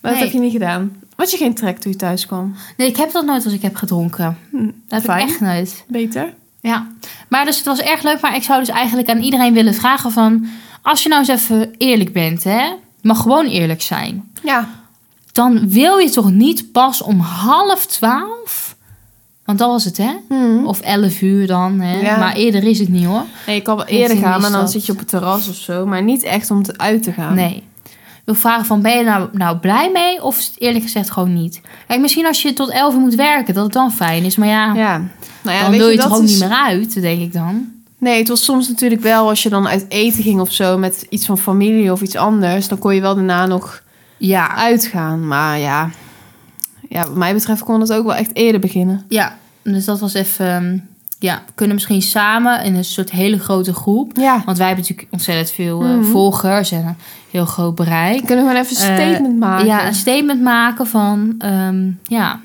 [SPEAKER 1] Maar dat
[SPEAKER 2] Nee.
[SPEAKER 1] heb je niet gedaan. Had je geen trek toen je thuis kwam?
[SPEAKER 2] nee, ik heb dat nooit als ik heb gedronken.
[SPEAKER 1] Hm,
[SPEAKER 2] Dat heb
[SPEAKER 1] fijn.
[SPEAKER 2] ik echt nooit.
[SPEAKER 1] Beter.
[SPEAKER 2] Ja, maar dus het was erg leuk. Maar ik zou dus eigenlijk aan iedereen willen vragen van... Als je nou eens even eerlijk bent, hè. het mag gewoon eerlijk zijn.
[SPEAKER 1] Ja.
[SPEAKER 2] Dan wil je toch niet pas om half twaalf... Want dat was het, hè?
[SPEAKER 1] Hm.
[SPEAKER 2] Of elf uur dan, hè?
[SPEAKER 1] Ja.
[SPEAKER 2] Maar eerder is het niet, hoor.
[SPEAKER 1] Nee, je kan wel
[SPEAKER 2] Richting
[SPEAKER 1] eerder
[SPEAKER 2] die
[SPEAKER 1] gaan, maar dan
[SPEAKER 2] stad.
[SPEAKER 1] zit je op het terras of zo. Maar niet echt om te uit te gaan.
[SPEAKER 2] Nee. Ik wil vragen van, ben je nou, nou blij mee? Of is het eerlijk gezegd gewoon niet? Kijk, misschien als je tot elf uur moet werken, dat het dan fijn is. Maar ja,
[SPEAKER 1] Ja. Nou ja,
[SPEAKER 2] dan
[SPEAKER 1] weet
[SPEAKER 2] wil je
[SPEAKER 1] dat
[SPEAKER 2] toch ook
[SPEAKER 1] is-
[SPEAKER 2] niet meer uit, denk ik dan.
[SPEAKER 1] Nee, het was soms natuurlijk wel als je dan uit eten ging of zo met iets van familie of iets anders, dan kon je wel daarna nog
[SPEAKER 2] Ja,
[SPEAKER 1] uitgaan. Maar ja, ja wat mij betreft kon dat ook wel echt eerder beginnen.
[SPEAKER 2] Ja, dus dat was even. ehm, Ja, we kunnen misschien samen in een soort hele grote groep.
[SPEAKER 1] Ja,
[SPEAKER 2] Want wij hebben natuurlijk ontzettend veel eh,
[SPEAKER 1] Mhm.
[SPEAKER 2] volgers en een heel groot bereik.
[SPEAKER 1] we kunnen gewoon even een
[SPEAKER 2] Eh,
[SPEAKER 1] statement maken.
[SPEAKER 2] Ja, een statement maken van. ehm, ja,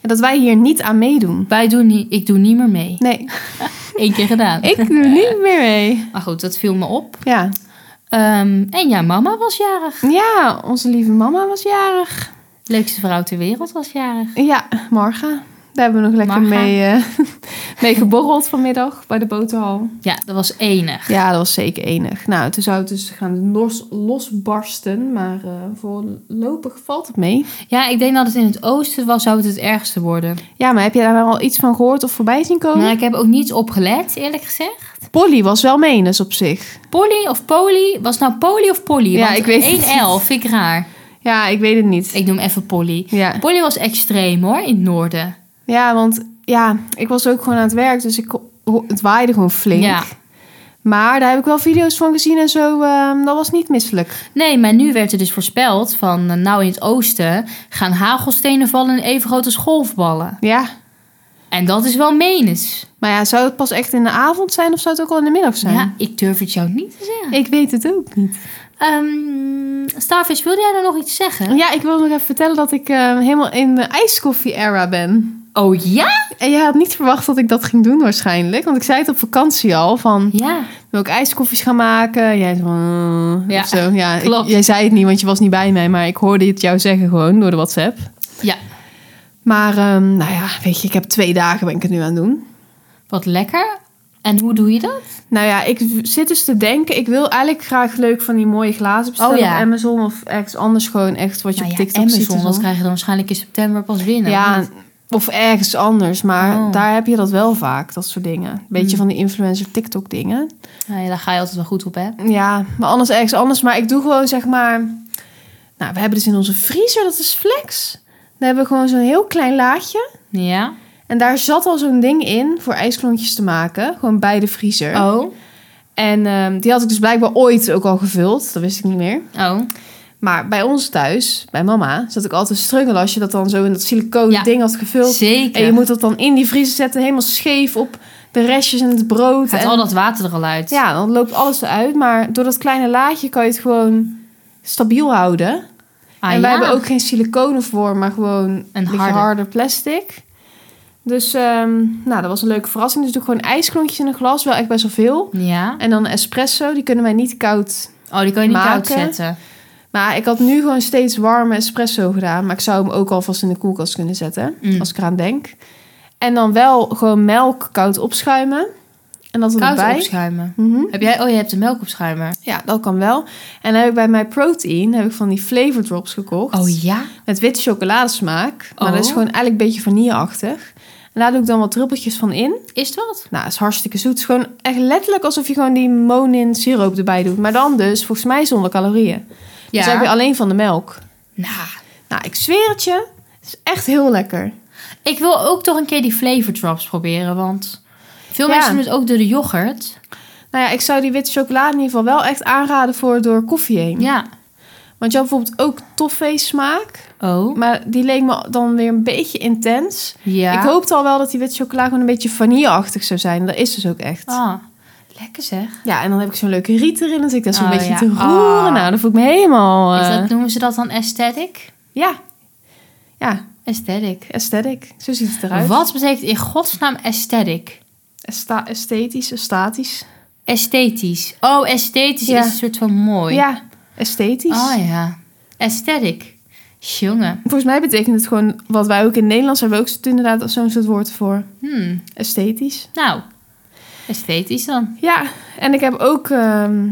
[SPEAKER 1] En dat wij hier niet aan meedoen.
[SPEAKER 2] wij doen niet, ik doe niet meer
[SPEAKER 1] *laughs*
[SPEAKER 2] mee.
[SPEAKER 1] Nee,
[SPEAKER 2] Eén keer gedaan.
[SPEAKER 1] ik doe niet meer mee.
[SPEAKER 2] Maar goed, dat viel me op.
[SPEAKER 1] Ja.
[SPEAKER 2] Ehm, en ja, mama was jarig.
[SPEAKER 1] ja, onze lieve mama was jarig.
[SPEAKER 2] Leukste vrouw ter wereld was jarig.
[SPEAKER 1] Ja, Marga. Daar hebben we nog lekker
[SPEAKER 2] Marga.
[SPEAKER 1] mee, eh, *laughs* mee geborreld vanmiddag bij de boterhal.
[SPEAKER 2] Ja, dat was enig.
[SPEAKER 1] Ja, dat was zeker enig. Nou, toen zou het dus gaan los, losbarsten, maar eh, voorlopig valt het mee.
[SPEAKER 2] Ja, ik denk dat het in het oosten was, zou het het ergste worden.
[SPEAKER 1] Ja, maar heb je daar wel al iets van gehoord of voorbij zien komen?
[SPEAKER 2] Maar ik heb ook niets opgelet, eerlijk gezegd.
[SPEAKER 1] Polly was wel mee, dus op zich.
[SPEAKER 2] Polly of Polly? Was nou Polly of Polly?
[SPEAKER 1] Ja, ik weet het niet.
[SPEAKER 2] 1 L vind ik raar.
[SPEAKER 1] Ja, ik weet het niet.
[SPEAKER 2] Ik noem even Polly.
[SPEAKER 1] Ja.
[SPEAKER 2] Polly was extreem hoor, in het noorden.
[SPEAKER 1] ja, want ja, ik was ook gewoon aan het werk, dus ik, ho- het waaide gewoon flink.
[SPEAKER 2] Ja.
[SPEAKER 1] Maar daar heb ik wel video's van gezien en zo. ehm, dat was niet misselijk.
[SPEAKER 2] Nee, maar nu werd er dus voorspeld van eh, nou in het oosten gaan hagelstenen vallen en even groot als golfballen.
[SPEAKER 1] Ja.
[SPEAKER 2] En dat is wel menens.
[SPEAKER 1] Maar ja, zou het pas echt in de avond zijn of zou het ook al in de middag zijn?
[SPEAKER 2] Ja, ik durf het jou niet te zeggen.
[SPEAKER 1] Ik weet het ook niet.
[SPEAKER 2] Ehm Starfish, wilde jij nou nog iets zeggen?
[SPEAKER 1] Ja, ik wil nog even vertellen dat ik ehm, helemaal in de ijskoffie-era ben.
[SPEAKER 2] Oh ja?
[SPEAKER 1] En jij had niet verwacht dat ik dat ging doen waarschijnlijk. Want ik zei het op vakantie al van...
[SPEAKER 2] Ja.
[SPEAKER 1] Wil ik ijskoffies gaan maken? Jij zei van... eh,
[SPEAKER 2] Ja,
[SPEAKER 1] of zo. ja ik-
[SPEAKER 2] klopt.
[SPEAKER 1] jij zei het niet, want je was niet bij mij. Maar ik hoorde het jou zeggen gewoon door de WhatsApp.
[SPEAKER 2] Ja.
[SPEAKER 1] Maar ehm, nou ja, weet je, ik heb twee dagen ben ik het nu aan het doen.
[SPEAKER 2] Wat lekker. En hoe doe je dat?
[SPEAKER 1] Nou ja, ik v- zit dus te denken. Ik wil eigenlijk graag leuk van die mooie glazen bestellen
[SPEAKER 2] Oh ja.
[SPEAKER 1] op Amazon. Of ergens anders gewoon echt wat je
[SPEAKER 2] Nou
[SPEAKER 1] op
[SPEAKER 2] ja,
[SPEAKER 1] TikTok ziet. en
[SPEAKER 2] Amazon,
[SPEAKER 1] zo.
[SPEAKER 2] dat krijg je dan waarschijnlijk in september pas binnen. of
[SPEAKER 1] ja,
[SPEAKER 2] niet?
[SPEAKER 1] of ergens anders. Maar
[SPEAKER 2] Oh.
[SPEAKER 1] daar heb je dat wel vaak, dat soort dingen. Beetje
[SPEAKER 2] Hmm.
[SPEAKER 1] van die influencer TikTok dingen.
[SPEAKER 2] Nou ja, daar ga je altijd wel goed op, hè?
[SPEAKER 1] Ja, maar anders ergens anders. Maar ik doe gewoon zeg maar... Nou, we hebben dus in onze vriezer, dat is flex. Daar hebben we gewoon zo'n heel klein laadje.
[SPEAKER 2] Ja.
[SPEAKER 1] En En daar zat al zo'n ding in voor ijsklontjes te maken. Gewoon bij de vriezer.
[SPEAKER 2] Oh.
[SPEAKER 1] En ehm, die had ik dus blijkbaar ooit ook al gevuld. Dat wist ik niet meer.
[SPEAKER 2] Oh.
[SPEAKER 1] Maar bij ons thuis, bij mama, zat ik altijd te struggelen als je dat dan zo in dat siliconen
[SPEAKER 2] Ja.
[SPEAKER 1] ding had gevuld.
[SPEAKER 2] Zeker.
[SPEAKER 1] En je moet dat dan in die vriezer zetten, helemaal scheef op de restjes en het brood.
[SPEAKER 2] Gaat
[SPEAKER 1] en,
[SPEAKER 2] al dat water er al uit.
[SPEAKER 1] Ja, dan loopt alles eruit. Maar door dat kleine laadje kan je het gewoon stabiel houden.
[SPEAKER 2] Ah,
[SPEAKER 1] en wij
[SPEAKER 2] ja.
[SPEAKER 1] hebben ook geen siliconen voor, maar gewoon een beetje
[SPEAKER 2] harde.
[SPEAKER 1] harder plastic. Dus ehm, nou, dat was een leuke verrassing. Dus doe ik gewoon ijsklontjes in een glas, wel echt best wel veel.
[SPEAKER 2] Ja.
[SPEAKER 1] En dan espresso, die kunnen wij niet koud
[SPEAKER 2] Oh, die kan je niet koud
[SPEAKER 1] Maken.
[SPEAKER 2] zetten.
[SPEAKER 1] maar ik had nu gewoon steeds warme espresso gedaan. Maar ik zou hem ook alvast in de koelkast kunnen zetten.
[SPEAKER 2] Mm.
[SPEAKER 1] Als ik eraan denk. En dan wel gewoon melk koud opschuimen. En dat
[SPEAKER 2] Koud
[SPEAKER 1] erbij.
[SPEAKER 2] opschuimen.
[SPEAKER 1] Mhm.
[SPEAKER 2] Heb jij, oh, je hebt de melkopschuimer.
[SPEAKER 1] Ja, dat kan wel. En dan heb ik bij mijn protein heb ik van die flavor drops gekocht.
[SPEAKER 2] Oh ja?
[SPEAKER 1] Met witte chocoladesmaak. Maar dat is
[SPEAKER 2] Oh.
[SPEAKER 1] gewoon eigenlijk een beetje vanilleachtig. En daar doe ik dan wat druppeltjes van in.
[SPEAKER 2] Is het wat?
[SPEAKER 1] Nou, dat is hartstikke zoet. Het is gewoon echt letterlijk alsof je gewoon die monin siroop erbij doet. Maar dan dus volgens mij zonder calorieën. Dus dan heb je alleen van de melk.
[SPEAKER 2] Nou,
[SPEAKER 1] Nou, ik zweer het je. Het is echt heel lekker.
[SPEAKER 2] ik wil ook toch een keer die flavor drops proberen, want veel
[SPEAKER 1] Ja.
[SPEAKER 2] mensen doen het ook door de yoghurt.
[SPEAKER 1] Nou ja, ik zou die witte chocolade in ieder geval wel echt aanraden voor door koffie heen.
[SPEAKER 2] Ja.
[SPEAKER 1] Want je had bijvoorbeeld ook toffee smaak.
[SPEAKER 2] Oh.
[SPEAKER 1] Maar die leek me dan weer een beetje intens.
[SPEAKER 2] Ja.
[SPEAKER 1] Ik hoopte al wel dat die witte chocolade gewoon een beetje vanilleachtig zou zijn. Dat is dus ook echt.
[SPEAKER 2] Ah, lekker zeg.
[SPEAKER 1] Ja, en dan heb ik zo'n leuke riet erin. Dan zit ik daar zo'n
[SPEAKER 2] Oh,
[SPEAKER 1] beetje
[SPEAKER 2] ja.
[SPEAKER 1] te roeren.
[SPEAKER 2] Ah.
[SPEAKER 1] Nou, dan voel ik me helemaal...
[SPEAKER 2] Is
[SPEAKER 1] eh,
[SPEAKER 2] dat, noemen ze dat dan aesthetic?
[SPEAKER 1] Ja. Ja,
[SPEAKER 2] Aesthetic.
[SPEAKER 1] aesthetic. Zo ziet het eruit.
[SPEAKER 2] Wat betekent in godsnaam aesthetic?
[SPEAKER 1] Esta- esthetisch, statisch.
[SPEAKER 2] Esthetisch. Oh, esthetisch
[SPEAKER 1] Ja.
[SPEAKER 2] is een soort van mooi.
[SPEAKER 1] Ja, esthetisch.
[SPEAKER 2] Oh ja. Aesthetic. Jongen.
[SPEAKER 1] Volgens mij betekent het gewoon, wat wij ook in het Nederlands hebben, we ook zo- inderdaad zo'n soort woord voor.
[SPEAKER 2] Hmm.
[SPEAKER 1] Esthetisch.
[SPEAKER 2] Nou, esthetisch dan.
[SPEAKER 1] Ja, en ik heb ook, ehm,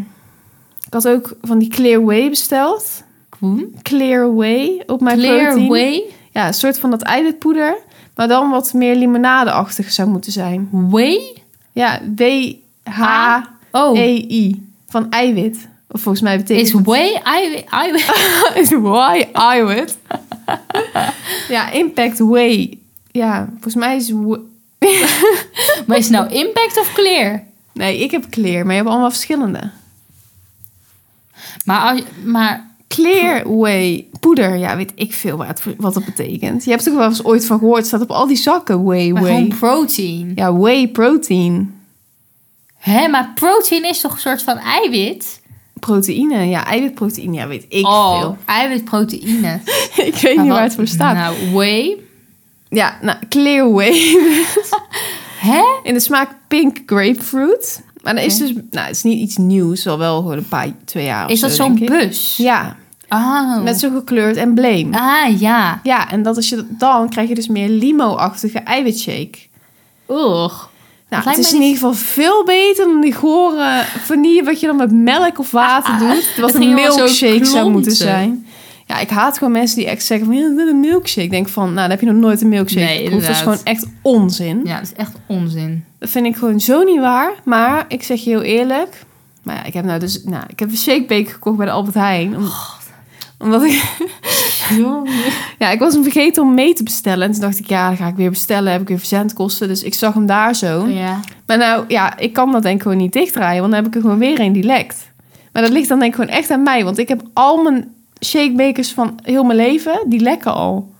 [SPEAKER 1] ik had ook van die Clearway besteld.
[SPEAKER 2] Koen.
[SPEAKER 1] Clearway op mijn
[SPEAKER 2] Clear
[SPEAKER 1] protein.
[SPEAKER 2] way.
[SPEAKER 1] Ja, een soort van dat eiwitpoeder, maar dan wat meer limonadeachtig zou moeten zijn.
[SPEAKER 2] Way?
[SPEAKER 1] Ja, W-H-E-I.
[SPEAKER 2] Oh,
[SPEAKER 1] Van eiwit. Of volgens mij betekent
[SPEAKER 2] is way I, I,
[SPEAKER 1] *laughs* is why I would. ja, impact way. Ja, volgens mij is... wa-
[SPEAKER 2] Maar is het nou impact of clear?
[SPEAKER 1] *laughs* Nee, ik heb clear, maar je hebt allemaal verschillende.
[SPEAKER 2] Maar, als, maar
[SPEAKER 1] Clear way poeder. Ja, weet ik veel wat, het- wat dat betekent. Je hebt er ook wel eens ooit van gehoord. Het staat op al die zakken way,
[SPEAKER 2] maar
[SPEAKER 1] way.
[SPEAKER 2] gewoon protein.
[SPEAKER 1] Ja, whey protein.
[SPEAKER 2] Hè, maar protein is toch een soort van eiwit?
[SPEAKER 1] Proteïne, ja, eiwitproteïne. Ja, weet ik
[SPEAKER 2] oh,
[SPEAKER 1] veel. *laughs*
[SPEAKER 2] eiwitproteïne.
[SPEAKER 1] ik weet
[SPEAKER 2] Maar
[SPEAKER 1] niet
[SPEAKER 2] wat-
[SPEAKER 1] waar het voor staat.
[SPEAKER 2] Nou, whey.
[SPEAKER 1] Ja, nou, clear way. *laughs*
[SPEAKER 2] Hè?
[SPEAKER 1] In de smaak pink grapefruit. Maar dat is
[SPEAKER 2] Oké.
[SPEAKER 1] dus... Nou, het is niet iets nieuws. Al wel gewoon een paar, twee jaar of
[SPEAKER 2] Is
[SPEAKER 1] zo,
[SPEAKER 2] dat zo'n
[SPEAKER 1] denk ik.
[SPEAKER 2] bus?
[SPEAKER 1] Ja,
[SPEAKER 2] Oh.
[SPEAKER 1] met zo'n gekleurd embleem.
[SPEAKER 2] Ah, ja.
[SPEAKER 1] Ja, en dat als je dat, dan krijg je dus meer limo-achtige eiwitshake.
[SPEAKER 2] Oeh.
[SPEAKER 1] Nou, het
[SPEAKER 2] lijkt mij
[SPEAKER 1] is in
[SPEAKER 2] niet-
[SPEAKER 1] ieder geval veel beter dan die gore vanille wat je dan met melk of water doet. Wat
[SPEAKER 2] Ah, het
[SPEAKER 1] een
[SPEAKER 2] ging wel zo
[SPEAKER 1] milkshake zou moeten
[SPEAKER 2] klonten.
[SPEAKER 1] zijn. Ja, ik haat gewoon mensen die echt zeggen van ja, dit is een milkshake. Ik denk van, nou, dan heb je nog nooit een milkshake
[SPEAKER 2] Nee,
[SPEAKER 1] geproefd. Dat is gewoon
[SPEAKER 2] inderdaad.
[SPEAKER 1] echt onzin.
[SPEAKER 2] Ja, dat is echt onzin.
[SPEAKER 1] Dat vind ik gewoon zo niet waar. Maar ik zeg je heel eerlijk. Maar ja, ik heb nou dus, nou, ik heb een shakebeker gekocht bij de Albert Heijn. Om- omdat ik Ja, ik was hem vergeten om mee te bestellen. En toen dacht ik, ja, dan ga ik weer bestellen. Heb ik weer verzendkosten. Dus ik zag hem daar zo.
[SPEAKER 2] Oh ja.
[SPEAKER 1] Maar nou, ja, ik kan dat denk ik gewoon niet dichtdraaien. Want dan heb ik er gewoon weer een die lekt. Maar dat ligt dan denk ik gewoon echt aan mij. Want ik heb al mijn shakebekers van heel mijn leven, die lekken al.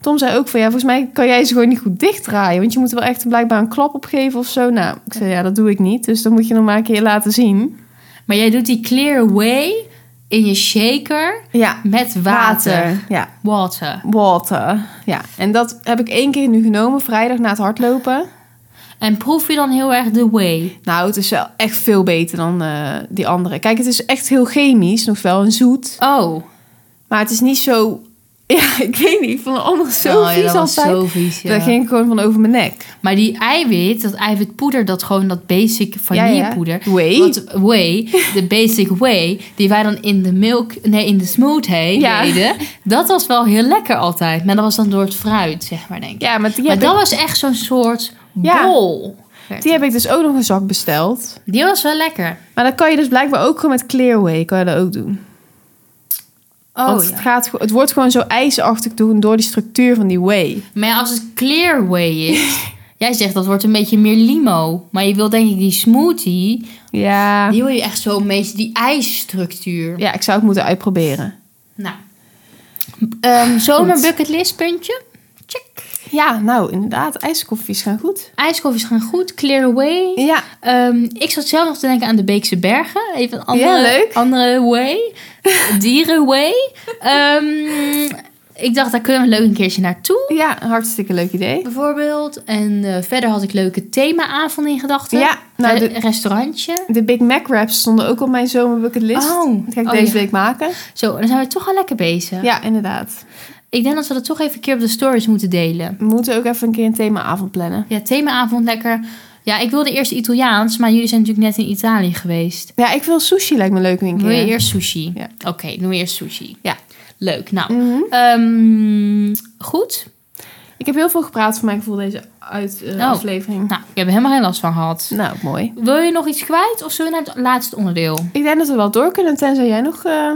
[SPEAKER 1] Tom zei ook van, ja, volgens mij kan jij ze gewoon niet goed dichtdraaien. Want je moet er wel echt blijkbaar een klap op geven of zo. Nou, ik zei, ja, dat doe ik niet. Dus dan moet je nog maar een keer laten zien.
[SPEAKER 2] Maar jij doet die clear way in je shaker
[SPEAKER 1] Ja,
[SPEAKER 2] met water.
[SPEAKER 1] Ja,
[SPEAKER 2] Water.
[SPEAKER 1] water. Ja, en dat heb ik één keer nu genomen, vrijdag na het hardlopen.
[SPEAKER 2] En proef je dan heel erg de way?
[SPEAKER 1] Nou, het is wel echt veel beter dan eh, die andere. Kijk, het is echt heel chemisch, nog wel en zoet.
[SPEAKER 2] Oh.
[SPEAKER 1] Maar het is niet zo... *laughs* Ja, ik weet niet, ik vond het allemaal zo
[SPEAKER 2] oh, ja,
[SPEAKER 1] vies
[SPEAKER 2] dat was
[SPEAKER 1] altijd.
[SPEAKER 2] zo vies, ja.
[SPEAKER 1] Daar ging ik gewoon van over mijn nek.
[SPEAKER 2] Maar die eiwit, dat eiwitpoeder, dat gewoon dat basic vanillepoeder.
[SPEAKER 1] Whey.
[SPEAKER 2] Wat whey, de basic whey, die wij dan in de milk, nee, in de smoothie
[SPEAKER 1] Ja.
[SPEAKER 2] deden. Dat was wel heel lekker altijd. Maar dat was dan door het fruit, zeg maar, denk ik.
[SPEAKER 1] Ja, maar die,
[SPEAKER 2] maar
[SPEAKER 1] heb,
[SPEAKER 2] dat was echt zo'n soort
[SPEAKER 1] Ja.
[SPEAKER 2] bol.
[SPEAKER 1] ik, die heb ik dus ook nog een zak besteld.
[SPEAKER 2] Die was wel lekker.
[SPEAKER 1] Maar dat kan je dus blijkbaar ook gewoon met Clearway, kan je dat ook doen.
[SPEAKER 2] Oh,
[SPEAKER 1] Want het, gaat, het wordt gewoon zo ijsachtig doen door die structuur van die whey.
[SPEAKER 2] Maar ja, als het clearway is. jij zegt dat wordt een beetje meer limo. Maar je wil denk ik die smoothie.
[SPEAKER 1] Ja.
[SPEAKER 2] Die wil je echt zo een beetje die ijsstructuur.
[SPEAKER 1] Ja, ik zou het moeten uitproberen.
[SPEAKER 2] Nou. Ehm zomer bucketlist puntje. Check.
[SPEAKER 1] Ja, nou inderdaad, ijskoffies gaan goed.
[SPEAKER 2] Ijskoffies gaan goed. Clearway.
[SPEAKER 1] Ja,
[SPEAKER 2] Ehm, ik zat zelf nog te denken aan de Beekse Bergen. Even een andere,
[SPEAKER 1] Ja, leuk.
[SPEAKER 2] andere way. Dierenway. Ehm, ik dacht, daar kunnen we leuk een keertje naartoe.
[SPEAKER 1] ja hartstikke leuk idee.
[SPEAKER 2] Bijvoorbeeld. En eh, verder had ik leuke themaavonden in gedachten.
[SPEAKER 1] Ja, nou,
[SPEAKER 2] Re-
[SPEAKER 1] de,
[SPEAKER 2] restaurantje.
[SPEAKER 1] de Big Mac wraps stonden ook op mijn zomerbucketlist.
[SPEAKER 2] Oh.
[SPEAKER 1] Dat ga ik
[SPEAKER 2] Oh,
[SPEAKER 1] deze
[SPEAKER 2] ja.
[SPEAKER 1] week maken.
[SPEAKER 2] Zo, dan zijn we toch al lekker bezig.
[SPEAKER 1] Ja, inderdaad.
[SPEAKER 2] Ik denk dat we dat toch even een keer op de stories moeten delen.
[SPEAKER 1] We moeten ook even een keer een themaavond plannen.
[SPEAKER 2] Ja, themaavond lekker. Ja, ik wilde eerst Italiaans, maar jullie zijn natuurlijk net in Italië geweest.
[SPEAKER 1] Ja, ik wil sushi, lijkt me leuk een
[SPEAKER 2] Wil
[SPEAKER 1] keer.
[SPEAKER 2] je eerst sushi?
[SPEAKER 1] Ja.
[SPEAKER 2] Oké, doen we eerst sushi.
[SPEAKER 1] Ja.
[SPEAKER 2] Leuk, nou.
[SPEAKER 1] Mhm.
[SPEAKER 2] Ehm, goed.
[SPEAKER 1] Ik heb heel veel gepraat voor mijn gevoel deze uit, eh,
[SPEAKER 2] Oh.
[SPEAKER 1] aflevering.
[SPEAKER 2] Nou, ik heb er helemaal geen last van gehad.
[SPEAKER 1] Nou, mooi.
[SPEAKER 2] Wil je nog iets kwijt of zullen we naar het laatste onderdeel?
[SPEAKER 1] Ik denk dat we wel door kunnen, tenzij jij nog... eh,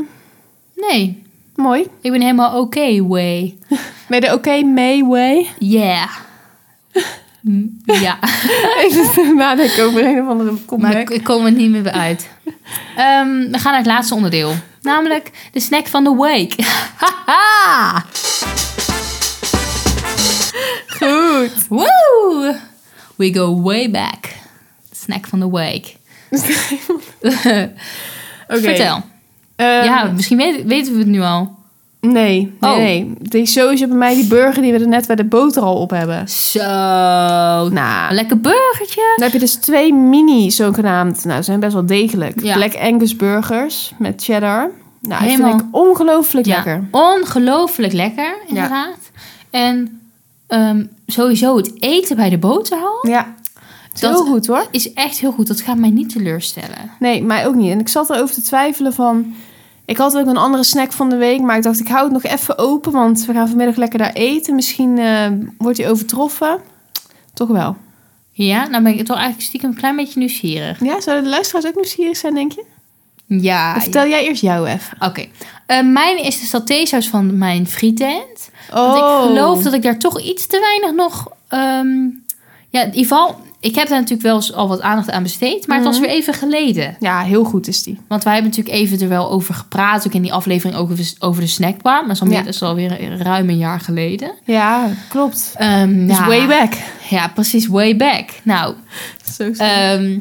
[SPEAKER 2] Nee,
[SPEAKER 1] mooi.
[SPEAKER 2] ik ben helemaal oké, way.
[SPEAKER 1] Met de oké May way.
[SPEAKER 2] *laughs* Yeah.
[SPEAKER 1] *laughs*
[SPEAKER 2] Hm, ja,
[SPEAKER 1] Even nadenken over een of andere
[SPEAKER 2] maar
[SPEAKER 1] comeback.
[SPEAKER 2] ik, ik kom er niet meer
[SPEAKER 1] *laughs*
[SPEAKER 2] uit. Ehm, we gaan naar het laatste onderdeel. Namelijk de snack van de week. *laughs* Haha!
[SPEAKER 1] Goed.
[SPEAKER 2] Woo! We go way back. Snack van de week.
[SPEAKER 1] Oké.
[SPEAKER 2] Vertel.
[SPEAKER 1] Ehm,
[SPEAKER 2] ja, misschien weet- weten we het nu al.
[SPEAKER 1] Nee, nee,
[SPEAKER 2] Oh.
[SPEAKER 1] nee. Die sowieso bij mij die burger die we er net bij de boter al op hebben.
[SPEAKER 2] Zo.
[SPEAKER 1] Nou,
[SPEAKER 2] Lekker burgertje.
[SPEAKER 1] dan heb je dus twee mini zogenaamd. Nou, ze zijn best wel degelijk.
[SPEAKER 2] Ja.
[SPEAKER 1] Black Angus burgers met cheddar. Nou, die
[SPEAKER 2] Helemaal.
[SPEAKER 1] vind ik ongelooflijk
[SPEAKER 2] Ja,
[SPEAKER 1] lekker.
[SPEAKER 2] Ongelooflijk lekker, inderdaad. En ehm, sowieso het eten bij de boterhal
[SPEAKER 1] Ja,
[SPEAKER 2] Dat-
[SPEAKER 1] heel goed hoor.
[SPEAKER 2] is echt heel goed. Dat gaat mij niet teleurstellen.
[SPEAKER 1] Nee, mij ook niet. En ik zat erover te twijfelen van... Ik had ook een andere snack van de week, maar ik dacht ik hou het nog even open. Want we gaan vanmiddag lekker daar eten. Misschien eh, wordt die overtroffen. Toch wel.
[SPEAKER 2] Ja, nou ben ik toch eigenlijk stiekem een klein beetje nieuwsgierig.
[SPEAKER 1] Ja, zouden de luisteraars ook nieuwsgierig zijn, denk je?
[SPEAKER 2] Ja.
[SPEAKER 1] Dan vertel jij eerst jou even.
[SPEAKER 2] Oké. Eh, mijn is de satésaus van mijn frietent. Want
[SPEAKER 1] Oh.
[SPEAKER 2] ik geloof dat ik daar toch iets te weinig nog... ehm, ja, in ieder geval, ik heb daar natuurlijk wel eens al wat aandacht aan besteed. Maar het was
[SPEAKER 1] Mhm.
[SPEAKER 2] weer even geleden.
[SPEAKER 1] Ja, heel goed is die.
[SPEAKER 2] Want wij hebben natuurlijk even er wel over gepraat. Ook in die aflevering over, over de snackbar. Maar dat is, al meer,
[SPEAKER 1] Ja.
[SPEAKER 2] dat is alweer ruim een jaar geleden.
[SPEAKER 1] Ja, klopt.
[SPEAKER 2] Ehm,
[SPEAKER 1] Dus
[SPEAKER 2] ja.
[SPEAKER 1] way back.
[SPEAKER 2] Ja, precies. Way back. Nou,
[SPEAKER 1] Zo
[SPEAKER 2] ehm,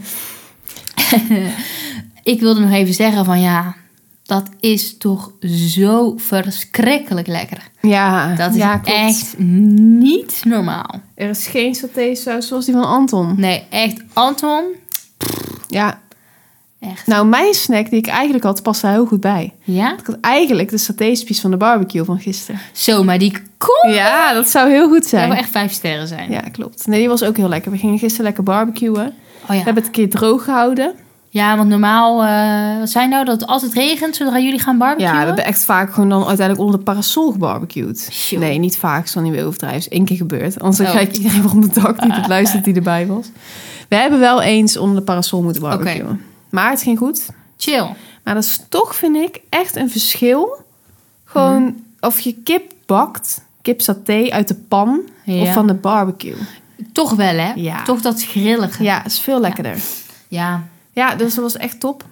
[SPEAKER 2] *laughs* ik wilde nog even zeggen van ja... Dat is toch zo verschrikkelijk lekker.
[SPEAKER 1] ja,
[SPEAKER 2] Dat is
[SPEAKER 1] ja, klopt.
[SPEAKER 2] echt niet normaal.
[SPEAKER 1] Er is geen satésaus zoals die van Anton.
[SPEAKER 2] Nee, echt Anton.
[SPEAKER 1] Ja,
[SPEAKER 2] Echt.
[SPEAKER 1] nou mijn snack die ik eigenlijk had, past daar heel goed bij.
[SPEAKER 2] Ja?
[SPEAKER 1] Ik had eigenlijk de satéspies van de barbecue van gisteren.
[SPEAKER 2] Zo, maar die kon
[SPEAKER 1] Ja, dat zou heel goed
[SPEAKER 2] zou wel
[SPEAKER 1] zijn.
[SPEAKER 2] echt vijf sterren zijn.
[SPEAKER 1] Ja, klopt. Nee, die was ook heel lekker. We gingen gisteren lekker barbecuen.
[SPEAKER 2] Oh
[SPEAKER 1] We
[SPEAKER 2] ja.
[SPEAKER 1] hebben het een keer droog gehouden.
[SPEAKER 2] Ja, want normaal, eh, wat zijn nou dat het altijd regent zodra jullie gaan barbecuen?
[SPEAKER 1] Ja, we hebben echt vaak gewoon dan uiteindelijk onder de parasol gebarbecued.
[SPEAKER 2] Tjoe.
[SPEAKER 1] Nee, niet vaak, ik zal niet meer overdrijven. Is één keer gebeurd. Anders
[SPEAKER 2] Oh.
[SPEAKER 1] ga ik iedereen weer op de dak *laughs* die het luistert die erbij was. We hebben wel eens onder de parasol moeten barbecuen. Maar het ging goed.
[SPEAKER 2] Chill.
[SPEAKER 1] Maar dat is toch, vind ik, echt een verschil. Gewoon
[SPEAKER 2] Mhm.
[SPEAKER 1] of je kip bakt, kip saté uit de pan
[SPEAKER 2] Ja.
[SPEAKER 1] of van de barbecue.
[SPEAKER 2] Toch wel, hè?
[SPEAKER 1] Ja.
[SPEAKER 2] Toch dat grillige.
[SPEAKER 1] Ja, is veel lekkerder. Ja,
[SPEAKER 2] Ja.
[SPEAKER 1] dus dat was echt top.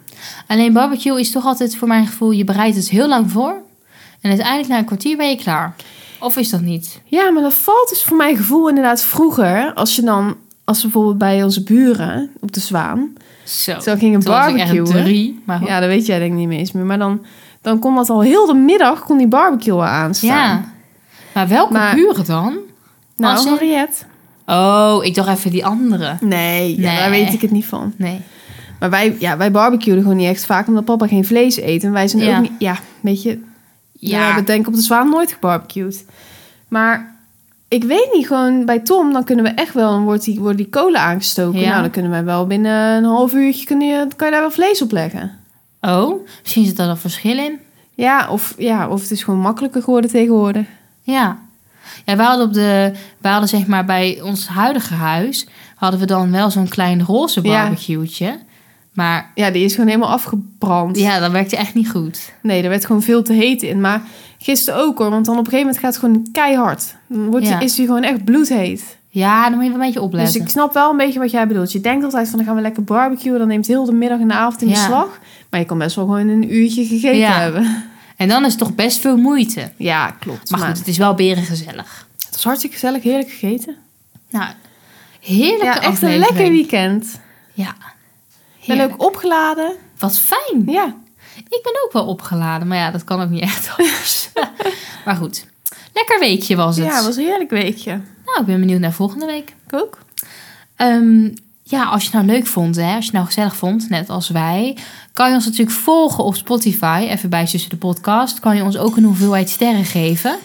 [SPEAKER 2] Alleen barbecue is toch altijd voor mijn gevoel, je bereidt het heel lang voor. En uiteindelijk na een kwartier ben je klaar. Of is dat niet?
[SPEAKER 1] Ja, maar dat valt dus voor mijn gevoel inderdaad vroeger. Als je dan, als we bijvoorbeeld bij onze buren op de Zwaan.
[SPEAKER 2] Zo.
[SPEAKER 1] Zo ging een
[SPEAKER 2] Oh, Toen was ik echt
[SPEAKER 1] barbecue.
[SPEAKER 2] drie. Maar goed.
[SPEAKER 1] Ja, dat weet jij denk ik niet meer eens meer. Maar dan, dan kon dat al heel de middag, kon die barbecue al aanstaan.
[SPEAKER 2] Ja. Maar welke
[SPEAKER 1] Maar-
[SPEAKER 2] buren dan? als
[SPEAKER 1] Nou,
[SPEAKER 2] in-
[SPEAKER 1] Henriette.
[SPEAKER 2] Oh, ik dacht even die andere.
[SPEAKER 1] Nee, ja,
[SPEAKER 2] Nee.
[SPEAKER 1] daar weet ik het niet van.
[SPEAKER 2] Nee.
[SPEAKER 1] Maar wij, ja, wij barbecuen gewoon niet echt vaak, omdat papa geen vlees eet. En wij zijn
[SPEAKER 2] Ja.
[SPEAKER 1] ook niet... Ja, weet je, we
[SPEAKER 2] Ja.
[SPEAKER 1] hebben denk ik op de Zwaan nooit gebarbecued. Maar ik weet niet, gewoon bij Tom, dan kunnen we echt wel... Dan wordt die, worden die kolen aangestoken.
[SPEAKER 2] Ja.
[SPEAKER 1] Nou, dan kunnen wij wel binnen een half uurtje... Kun je, kan je daar wel vlees op leggen.
[SPEAKER 2] Oh, misschien zit daar een verschil in.
[SPEAKER 1] Ja of, ja, of het is gewoon makkelijker geworden tegenwoordig.
[SPEAKER 2] Ja. Ja, we hadden, op de, we hadden zeg maar bij ons huidige huis... hadden we dan wel zo'n klein roze
[SPEAKER 1] Ja.
[SPEAKER 2] barbecue. Maar
[SPEAKER 1] Ja, die is gewoon helemaal afgebrand.
[SPEAKER 2] ja, dat werkte echt niet goed.
[SPEAKER 1] Nee, er werd gewoon veel te heet in. Maar gisteren ook hoor, want dan op een gegeven moment gaat het gewoon keihard. Dan wordt
[SPEAKER 2] Ja.
[SPEAKER 1] die, is die gewoon echt bloedheet.
[SPEAKER 2] Ja, dan moet je wel een beetje opletten.
[SPEAKER 1] Dus ik snap wel een beetje wat jij bedoelt. Je denkt altijd van, dan gaan we lekker barbecuen. Dan neemt heel de middag en de avond in
[SPEAKER 2] Ja.
[SPEAKER 1] beslag. Maar je kan best wel gewoon een uurtje gegeten
[SPEAKER 2] Ja.
[SPEAKER 1] hebben. *laughs*
[SPEAKER 2] En dan is het toch best veel moeite.
[SPEAKER 1] Ja, klopt.
[SPEAKER 2] Maar goed, het is wel berengezellig.
[SPEAKER 1] het was hartstikke gezellig, heerlijk gegeten.
[SPEAKER 2] Nou, heerlijke
[SPEAKER 1] Ja, echt een
[SPEAKER 2] aflevering.
[SPEAKER 1] lekker weekend.
[SPEAKER 2] Ja.
[SPEAKER 1] Ik ben
[SPEAKER 2] Heerlijk.
[SPEAKER 1] ook opgeladen.
[SPEAKER 2] Wat fijn.
[SPEAKER 1] Ja,
[SPEAKER 2] Ik ben ook wel opgeladen, maar ja, dat kan ook niet echt
[SPEAKER 1] *laughs*
[SPEAKER 2] anders. maar goed, lekker weekje was het.
[SPEAKER 1] ja het was een heerlijk weekje.
[SPEAKER 2] Nou, ik ben benieuwd naar volgende week.
[SPEAKER 1] Ik ook.
[SPEAKER 2] Ehm, ja, als je het nou leuk vond, hè, als je het nou gezellig vond, net als wij, kan je ons natuurlijk volgen op Spotify, even bij Tussen de Podcast. Kan je ons ook een hoeveelheid sterren geven.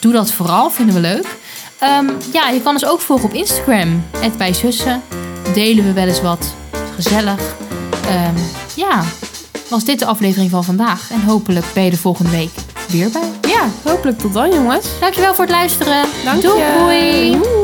[SPEAKER 2] Doe dat vooral, vinden we leuk. Ehm, ja, je kan ons ook volgen op Instagram, het bij Zussen. Delen we wel eens wat. Gezellig. Ehm, ja, was dit de aflevering van vandaag. En hopelijk ben je er volgende week weer bij.
[SPEAKER 1] Ja, hopelijk tot dan jongens.
[SPEAKER 2] Dankjewel voor het luisteren.
[SPEAKER 1] Dank
[SPEAKER 2] Doei.
[SPEAKER 1] je. Doei.